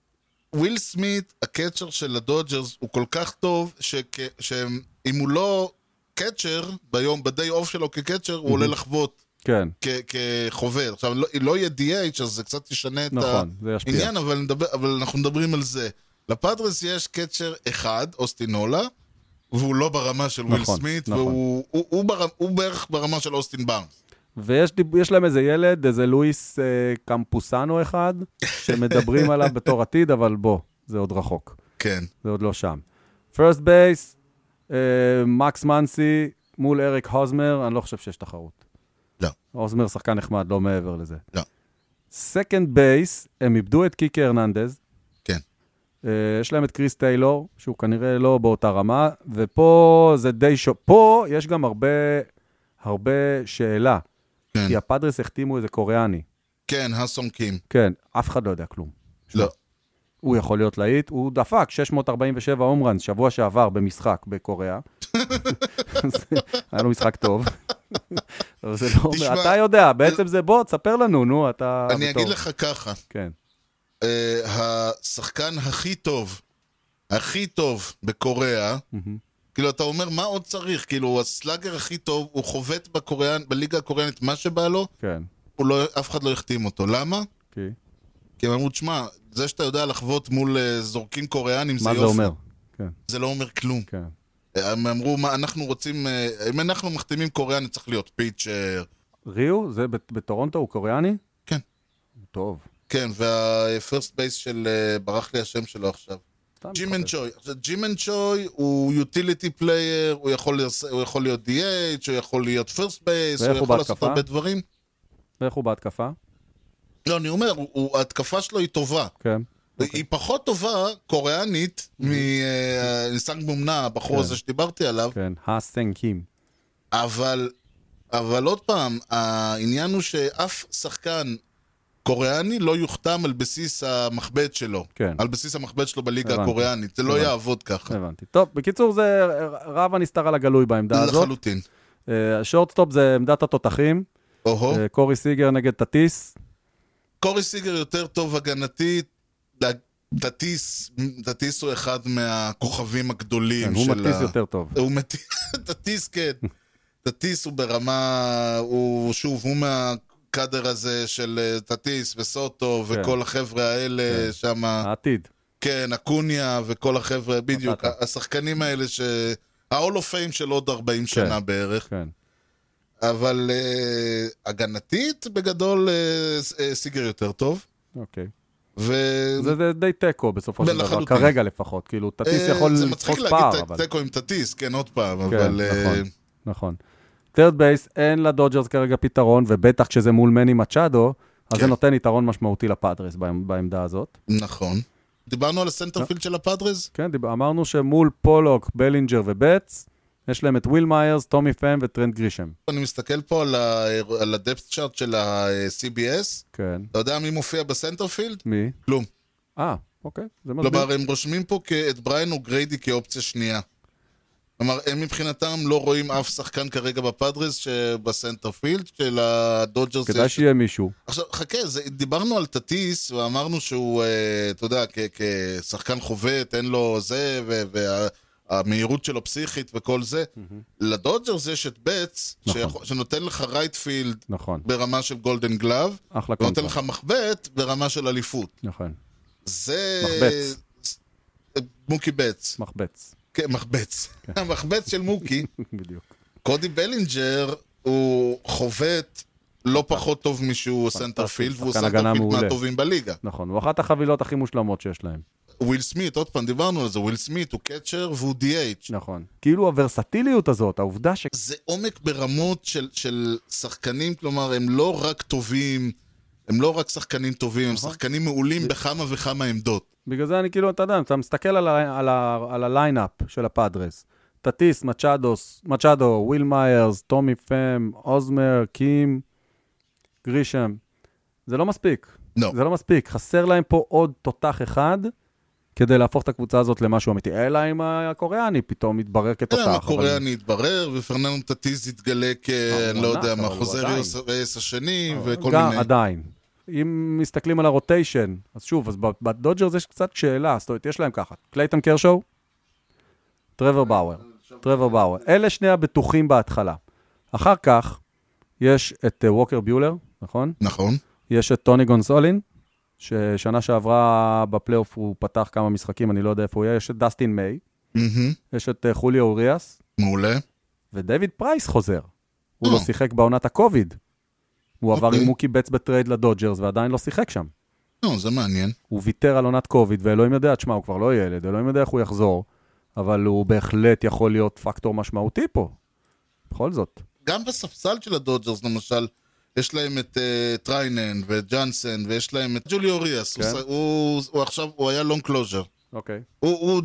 A: וויל סמית, הקצ'ר של הדודג'רס, הוא כל כך טוב, שכ- שאם הוא לא קצ'ר, ביום, ב-day off שלו כקצ'ר, הוא עולה לחוות
B: כן,
A: כ- כחובר. עכשיו, לא- לא יהיה DH, אז זה קצת ישנה את
B: נכון, זה ישפיע.
A: העניין, אבל נדבר- אבל אנחנו מדברים על זה. לפאדרס יש קצ'ר אחד, אוסטינולה, והוא לא ברמה של וויל
B: נכון,
A: סמית,
B: נכון.
A: והוא הוא- הוא ברמ- הוא בערך ברמה של אוסטין בארנס.
B: ויש דיב- יש להם איזה ילד, איזה לואיס אה, קמפוסנו אחד, שמדברים עליו בתור עתיד, אבל בוא, זה עוד רחוק,
A: כן.
B: זה עוד לא שם. פרסט בייס, אה, מקס מנסי מול אריק הוזמר, אני לא חושב שיש תחרות.
A: לא.
B: הוזמר שחקן נחמד, לא מעבר לזה.
A: לא.
B: סקנד בייס, הם איבדו את קיקי הרננדז.
A: כן.
B: אה, יש להם את קריס טיילור, שהוא כנראה לא באותה רמה, ופה זה די שו... פה יש גם הרבה, הרבה שאלה.
A: כן.
B: כי הפאדרס החתימו איזה קוריאני.
A: כן, הסון קים.
B: כן, אף אחד לא יודע כלום.
A: לא.
B: הוא יכול להיות להיט, הוא דפק 647 הום ראנס שבוע שעבר במשחק בקוריאה. אז היה לו משחק טוב. אבל זה לא...
A: תשמע,
B: אתה יודע, בעצם זה בוא, תספר לנו, נו, אתה...
A: אני אגיד
B: אה, בטוב.
A: לך ככה,
B: כן,
A: אה, השחקן הכי טוב, הכי טוב בקוריאה, כאילו, אתה אומר, מה עוד צריך? כאילו, הסלאגר הכי טוב, הוא חובט בקוריאן, בליגה הקוריאנית מה שבא לו,
B: כן.
A: הוא לא, אף אחד לא החתים אותו. למה?
B: כי...
A: כי הם אמרו, תשמע, זה שאתה יודע לחבוט מול אה, זורקים קוריאנים, זה
B: מה
A: יופי.
B: זה אומר? כן,
A: זה לא אומר כלום.
B: כן.
A: הם אמרו, מה, אנחנו רוצים, אה, אם אנחנו מחתימים קוריאני צריך להיות פיצ'ר.
B: ריו, זה ב- בטורונטו, הוא קוריאני?
A: כן.
B: טוב.
A: כן, והפרסט בייס של, אה, ברח לי השם שלו עכשיו.
B: סתם
A: ג'ימן
B: לא מחפש.
A: צ'וי. עכשיו, ג'ימן צ'וי הוא יוטיליטי פלייר, הוא יכול לס- הוא יכול להיות DH, הוא יכול להיות פרסט בייס,
B: ואיך
A: הוא
B: הוא
A: יכול לעשות
B: בהתקפה?
A: הרבה דברים.
B: ואיך הוא בהתקפה?
A: לא, אני אומר, הוא- הוא- ההתקפה שלו היא טובה.
B: כן.
A: היא פחות טובה, קוריאנית, מניסנג מומנה, הבחור
B: Mm-hmm. כן.
A: הזה שדיברתי עליו,
B: כן, הסנג קים.
A: אבל, אבל עוד פעם, העניין הוא שאף שחקן קוריאני לא יוחתם על בסיס המחבט שלו.
B: כן.
A: על בסיס המחבט שלו בליגה
B: הבנתי.
A: הקוריאנית. זה לא
B: הבנתי.
A: יעבוד ככה.
B: הבנתי. טוב, בקיצור, זה רב הנסתר על הגלוי בעמדה הזאת.
A: לחלוטין.
B: אה, השורטסטופ זה עמדת התותחים.
A: אוהו.
B: אה, קורי סיגר נגד טטיס.
A: קורי סיגר יותר טוב הגנתית, תטיס, תטיס הוא אחד מהכוכבים
B: כן,
A: הגדולים
B: הוא
A: של
B: מטיס
A: ה- אה.
B: יותר טוב.
A: הוא מטיס, [laughs] תטיס כן. תטיס הוא ברמה, הוא שוב, הוא מהקאדר הזה של אה, תטיס וסוטו
B: כן. אה.
A: וכל החבר'ה האלה שם,
B: העתיד.
A: כן, אקוניה וכל החבר'ה, בדיוק,
B: מטאטה.
A: השחקנים האלה ש... ה-all of fame של עוד 40 שנה בערך.
B: כן.
A: אבל אה, הגנתית, בגדול, אה, ס- אה, סיגר יותר טוב.
B: אוקיי.
A: ו...
B: זה זה די תיקו בסופו של דבר,
A: אה. לחלוטין.
B: כרגע לפחות. כאילו, טטיס
A: אה,
B: יכול
A: זה מצחיק
B: לתפוס
A: להגיד
B: פער,
A: ת-
B: אבל...
A: תיקו עם תטיס, כן, עוד פעם,
B: כן,
A: אבל... אה,
B: נכון. נכון. טרד בייס, אין לדודג'רס כרגע פתרון, ובטח כשזה מול מני מצ'אדו, אז זה
A: כן.
B: נותן יתרון משמעותי לפאדרס בעמ- בעמדה הזאת.
A: נכון. דיברנו על
B: אה.
A: הסנטרפילד של הפאדרז?
B: כן, דיב- אמרנו שמול פולוק, בלינג'ר ובטס, יש להם את וויל מיירס, טומי פאם וטרנד גרישם.
A: אני מסתכל פה על ה- על הדפט צ'ארט של ה-CBS,
B: כן.
A: אתה יודע מי מופיע בסנטרפילד?
B: מי?
A: כלום.
B: אה, אוקיי, זה מסביר.
A: כלומר, הם רושמים פה כ- את בריין וגריידי כאופציה שנייה. כלומר, הם מבחינתם לא רואים אף שחקן כרגע בפאדרס שבסנטרפילד של הדודג'רס.
B: כדאי
A: יש-
B: שיהיה מישהו.
A: עכשיו, חכה, זה, דיברנו על טטיס, ואמרנו שהוא, אה, אתה יודע, כ, כשחקן חובט, אין לו זה, והמהירות שלו פסיכית וכל זה. לדודג'רס יש את בטס,
B: נכון.
A: שיכול- שנותן לך רייטפילד
B: נכון,
A: ברמה של גולדן גלאב,
B: אחלה
A: ונותן
B: קונטרה.
A: לא לך מחבט ברמה של אליפות.
B: נכון,
A: זה...
B: מחבץ.
A: אה, מוקי בטס.
B: מחבץ, [laughs]
A: כן, [laughs] מחבץ. המחבץ של מוקי.
B: בדיוק.
A: קודי בלינג'ר הוא חובט לא פחות טוב משהוא סנטרפילד, והוא
B: נכון. שחקן הגנה
A: סנטרפילד
B: מעולה.
A: מהטובים בליגה.
B: נכון, הוא אחת החבילות הכי מושלמות שיש להם.
A: וויל סמית, עוד פעם, דיברנו על זה, וויל סמית הוא קצ'ר והוא DH.
B: נכון. כאילו הוורסטיליות הזאת, העובדה ש...
A: זה עומק ברמות של, של שחקנים, כלומר, הם לא רק טובים, הם לא רק שחקנים טובים, הם
B: נכון.
A: שחקנים מעולים בכמה וכמה עמדות.
B: בגלל זה אני כאילו, אתה יודע, אתה מסתכל על ה- על ה- על הליינאפ של הפאדרס. טטיס, מצ'אדוס, מצ'אדו, וויל מיירס, טומי פם, אוזמר, קים, גרישם. זה לא מספיק.
A: לא.
B: זה לא מספיק. חסר להם פה עוד תותח אחד כדי להפוך את הקבוצה הזאת למשהו אמיתי. אלא אם הקוריאני פתאום יתברר כתותח.
A: תראה,
B: אבל-
A: הקוריאני התברר, ופרננדו טטיס התגלה כ...
B: הוא
A: לא
B: ענק,
A: יודע מה,
B: אבל הוא
A: חוזר
B: עדיין. אה,
A: רייס השני, וכל
B: גם
A: מיני.
B: עדיין. אם מסתכלים על הרוטיישן, אז שוב, אז ב- בדודג'רס יש קצת שאלה, זאת אומרת, יש להם ככה, קלייטון קרשו, טרוור באואר, טרוור באואר. אלה שני הבטוחים בהתחלה. אחר כך, יש את אה, ווקר ביולר, נכון?
A: נכון.
B: יש את טוני גונסולין, ששנה שעברה בפלייאוף הוא פתח כמה משחקים, אני לא יודע איפה הוא יהיה, יש את דסטין מיי,
A: מהמם.
B: יש את אה, חוליו אוריאס,
A: מעולה.
B: ודייוויד פרייס חוזר. הוא לא
A: אה.
B: שיחק בעונת הקוביד. הוא עבר
A: אוקיי.
B: עם מוקי בץ בטרייד לדודג'רס ועדיין לא שיחק שם.
A: לא, זה מעניין.
B: הוא ויתר על עונת קוביד, ואלוהים יודע, תשמע, הוא כבר לא ילד, אלוהים יודע איך הוא יחזור, אבל הוא בהחלט יכול להיות פקטור משמעותי פה. בכל זאת.
A: גם בספסל של הדודג'רס, למשל, יש להם את אה, טריינן ואת ג'אנסן, ויש להם את ג'וליו אוריאס. הוא
B: כן.
A: ש- הוא הוא עכשיו, הוא היה לונג קלוז'ר.
B: אוקיי,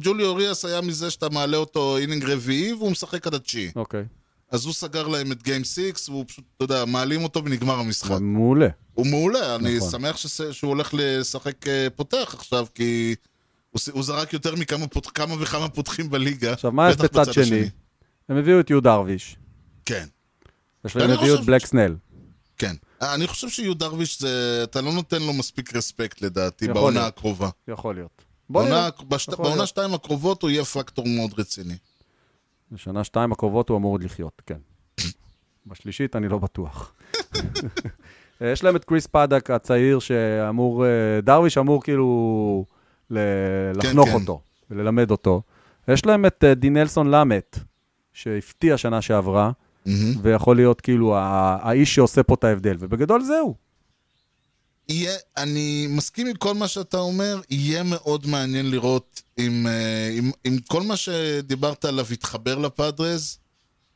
A: ג'וליו אוריאס היה מזה שאתה מעלה אותו אינינג רביעי, והוא משחק עד התשיעי.
B: אוקיי.
A: אז הוא סגר להם את גיים 6, והוא פשוט, אתה יודע, מעלים אותו ונגמר המשחק.
B: מעולה.
A: הוא מעולה, אני
B: נכון.
A: שמח שס- שהוא הולך לשחק אה, פותח עכשיו, כי הוא ס- הוא זרק יותר מכמה פות- כמה וכמה פותחים בליגה.
B: עכשיו, מה יש
A: בטח
B: בצד
A: בצד
B: שני?
A: השני.
B: הם הביאו את יהוד דרוויש,
A: כן,
B: ושהם
A: אני
B: הביאו את
A: חושב
B: בלק סנל.
A: כן. אה, אני חושב שיהודה דרוויש, זה- אתה לא נותן לו מספיק רספקט לדעתי,
B: יכול
A: בעונה
B: להיות.
A: הקרובה.
B: יכול להיות. בוא נראה.
A: בעונה- בשת-
B: יכול
A: בעונה
B: להיות.
A: שתיים הקרובות הוא יהיה פקטור מאוד רציני.
B: בשנה שתיים הקרובות הוא אמור עוד לחיות, כן. בשלישית אני לא בטוח. [laughs] אה, יש להם את קריס פדק הצעיר שאמור, אה, דרוויש אמור כאילו ל- לחנוך
A: כן.
B: אותו וללמד אותו. יש להם את אה, דינלסון למט, שהפתיע שנה שעברה,
A: מהמם.
B: ויכול להיות כאילו ה- האיש שעושה פה את ההבדל, ובגדול זהו.
A: יהיה, אני מסכים עם כל מה שאתה אומר, יהיה מאוד מעניין לראות אם, אה, אם, אם כל מה שדיברת עליו יתחבר לפאדרז,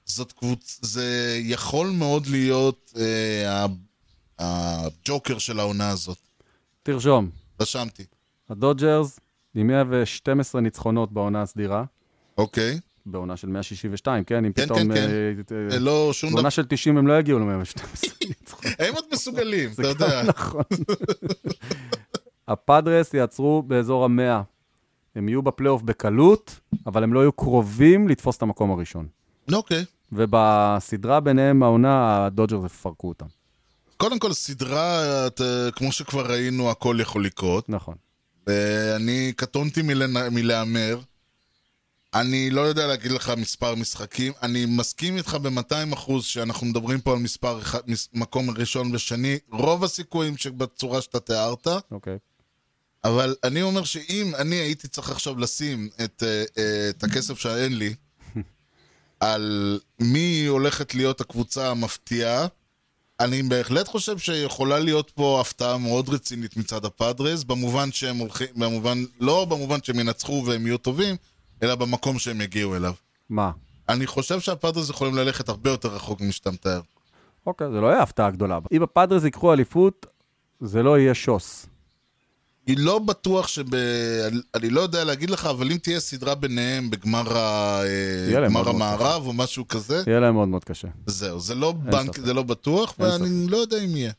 A: זאת קבוצ... זה יכול מאוד להיות אה, ה- הג'וקר של העונה הזאת.
B: תרשום,
A: רשמתי.
B: הדודג'רס עם 112 ניצחונות בעונה הסדירה,
A: אוקיי.
B: בעונה של 162, כן? אם
A: כן,
B: פתאום...
A: כן, כן.
B: אה, אה,
A: אה, לא, שום דבר.
B: בעונה של 90 הם לא יגיעו ל-112 [laughs] ניצחונות,
A: הם עוד
B: [laughs]
A: מסוגלים,
B: זה
A: אתה יודע.
B: גם נכון. הפאדרס יעצרו באזור המאה. הם יהיו בפלייאוף בקלות, אבל הם לא יהיו קרובים לתפוס את המקום הראשון.
A: אוקיי.
B: ובסדרה ביניהם העונה, הדודג'רס יפרקו אותם.
A: קודם כל, סדרה, אתה- כמו שכבר ראינו, הכל יכול לקרות.
B: נכון.
A: ואני קטונתי מלנ... מלהמר. אני לא יודע להגיד לך מספר משחקים. אני מסכים איתך ב-200 אחוז שאנחנו מדברים פה על מספר אחד, מס... מקום ראשון ושני. רוב הסיכויים שבצורה שאתה תיארת,
B: אוקיי.
A: אבל אני אומר שאם אני הייתי צריך עכשיו לשים את, uh, uh, את הכסף שאין לי על מי הולכת להיות הקבוצה המפתיעה, אני בהחלט חושב שיכולה להיות פה הפתעה מאוד רצינית מצד הפאדרס, במובן שהם הולכים, במובן, לא במובן שהם ינצחו והם יהיו טובים, אלא במקום שהם יגיעו אליו.
B: מה?
A: אני חושב שהפאדרס יכולים ללכת הרבה יותר רחוק ממה שאתה מתאר.
B: אוקיי, זה לא יהיה הפתעה גדולה. אם הפאדרס ייקחו אליפות, זה לא יהיה שוס.
A: אני לא בטוח שב... אני לא יודע להגיד לך, אבל אם תהיה סדרה ביניהם בגמר ה...
B: יהיה להם
A: גמר
B: מאוד מאוד
A: המערב או משהו כזה,
B: יהיה להם מאוד מאוד קשה.
A: זהו, זה לא בנק,
B: ספק.
A: זה לא בטוח,
B: אין
A: ואני לא יודע אם יהיה.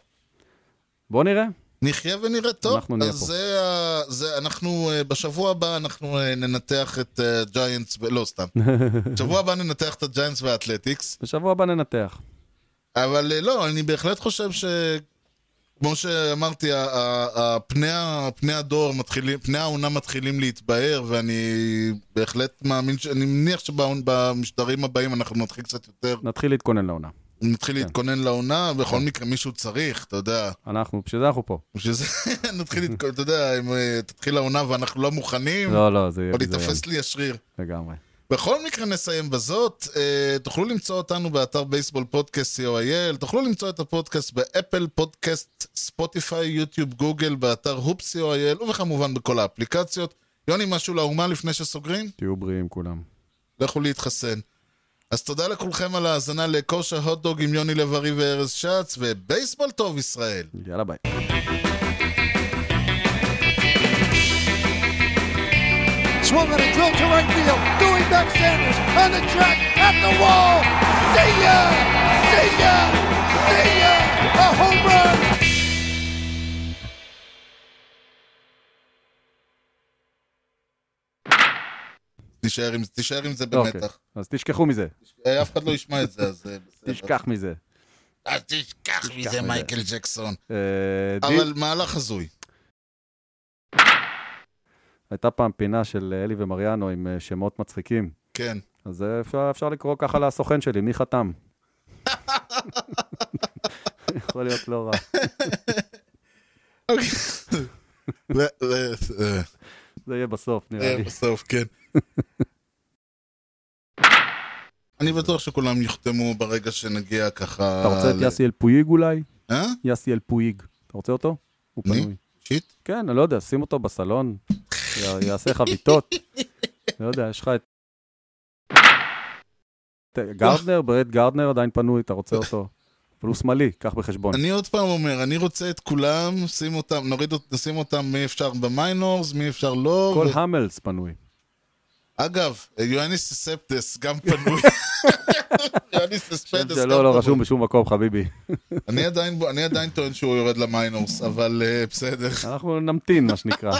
B: בואו נראה.
A: נחיה ונראה טוב.
B: אנחנו נהיה
A: אז
B: פה.
A: זה ה- זה, אנחנו, אה, בשבוע הבא אנחנו אה, ננתח את ג'יינטס, לא
B: [laughs]
A: סתם. בשבוע הבא ננתח את הג'יינטס והאתלטיקס,
B: בשבוע הבא ננתח.
A: אבל אה, לא, אני בהחלט חושב ש... כמו שאמרתי, ה- ה- ה- פני ה- פני הדור מתחילים, פני העונה מתחילים להתבהר, ואני בהחלט מאמין, ש- אני מניח שבמשדרים הבאים אנחנו נתחיל קצת יותר,
B: נתחיל להתכונן לעונה.
A: נתחיל
B: כן.
A: להתכונן לעונה, בכל מקרה מישהו צריך, אתה יודע.
B: אנחנו, בשביל זה אנחנו פה.
A: בשביל זה [laughs] נתחיל לתקוע, אתה יודע, אם אה, תתחיל העונה ואנחנו לא מוכנים,
B: לא, לא, זה יהיה
A: או
B: ביזיון.
A: ייתפס לי השריר.
B: לגמרי.
A: בכל מקרה נסיים בזאת, אה, תוכלו למצוא אותנו באתר בייסבול פודקאסט co.il, תוכלו למצוא את הפודקאסט באפל פודקאסט, ספוטיפיי, יוטיוב, גוגל, באתר הופ co.il, וכמובן בכל האפליקציות. יוני, משהו לאומה לפני שסוגרים?
B: תהיו בריאים כולם.
A: לכו להתחסן. אז תודה לכולכם על ההאזנה לכושר הוטדוג עם יוני לב-ארי וארז שץ, ובייסבול טוב ישראל.
B: יאללה ביי.
F: Swung on a drill to right field. Doing back Sanders on the track at the wall. See ya! See ya! See ya! A home run!
A: תישאר עם, תישאר עם זה
B: אוקיי.
A: במתח.
B: אז תשכחו מזה.
A: אה, אף אחד לא ישמע את זה, אז אה, בסדר.
B: תשכח מזה.
A: אז תשכח מזה,
B: מזה.
A: מייקל ג'קסון.
B: אה, דיל,
A: אבל מהלך הזוי.
B: הייתה פעם פינה של אלי ומריאנו עם אה, שמות מצחיקים.
A: כן.
B: אז זה אפשר- אפשר לקרוא ככה לסוכן שלי, מי חתם? יכול להיות לא רע.
A: אוקיי. ל- ל- אה,
B: זה יהיה בסוף, נראה
A: אה,
B: לי.
A: בסוף, כן. אני בטוח שכולם יחתמו ברגע שנגיע ככה...
B: אתה רוצה את
A: ל-
B: יאסי אלפויג אולי?
A: אה?
B: יאסי אלפויג. אתה רוצה אותו? הוא
A: אני?
B: פנוי.
A: שיט?
B: כן, אני לא יודע, שים אותו בסלון, י- יעשה חביתות. לא יודע, יש לך את... ת- גרדנר, ברד גרדנר עדיין פנוי, אתה רוצה אותו? אבל הוא שמאלי, קח בחשבון.
A: אני עוד פעם אומר, אני רוצה את כולם, שים אותם, נוריד, אות- נשים אותם מי אפשר במיינורס, מי אפשר לא.
B: כל
A: ו-
B: המלס פנוי.
A: אגב, יואניס ספטס
B: [laughs]
A: גם פנוי. יואניס ספטס גם
B: שם
A: פנוי.
B: שלו לא רשום בשום מקום, חביבי.
A: אני עדיין, אני עדיין טוען שהוא יורד למיינורס, אבל אה, בסדר.
B: אנחנו נמתין, מה שנקרא.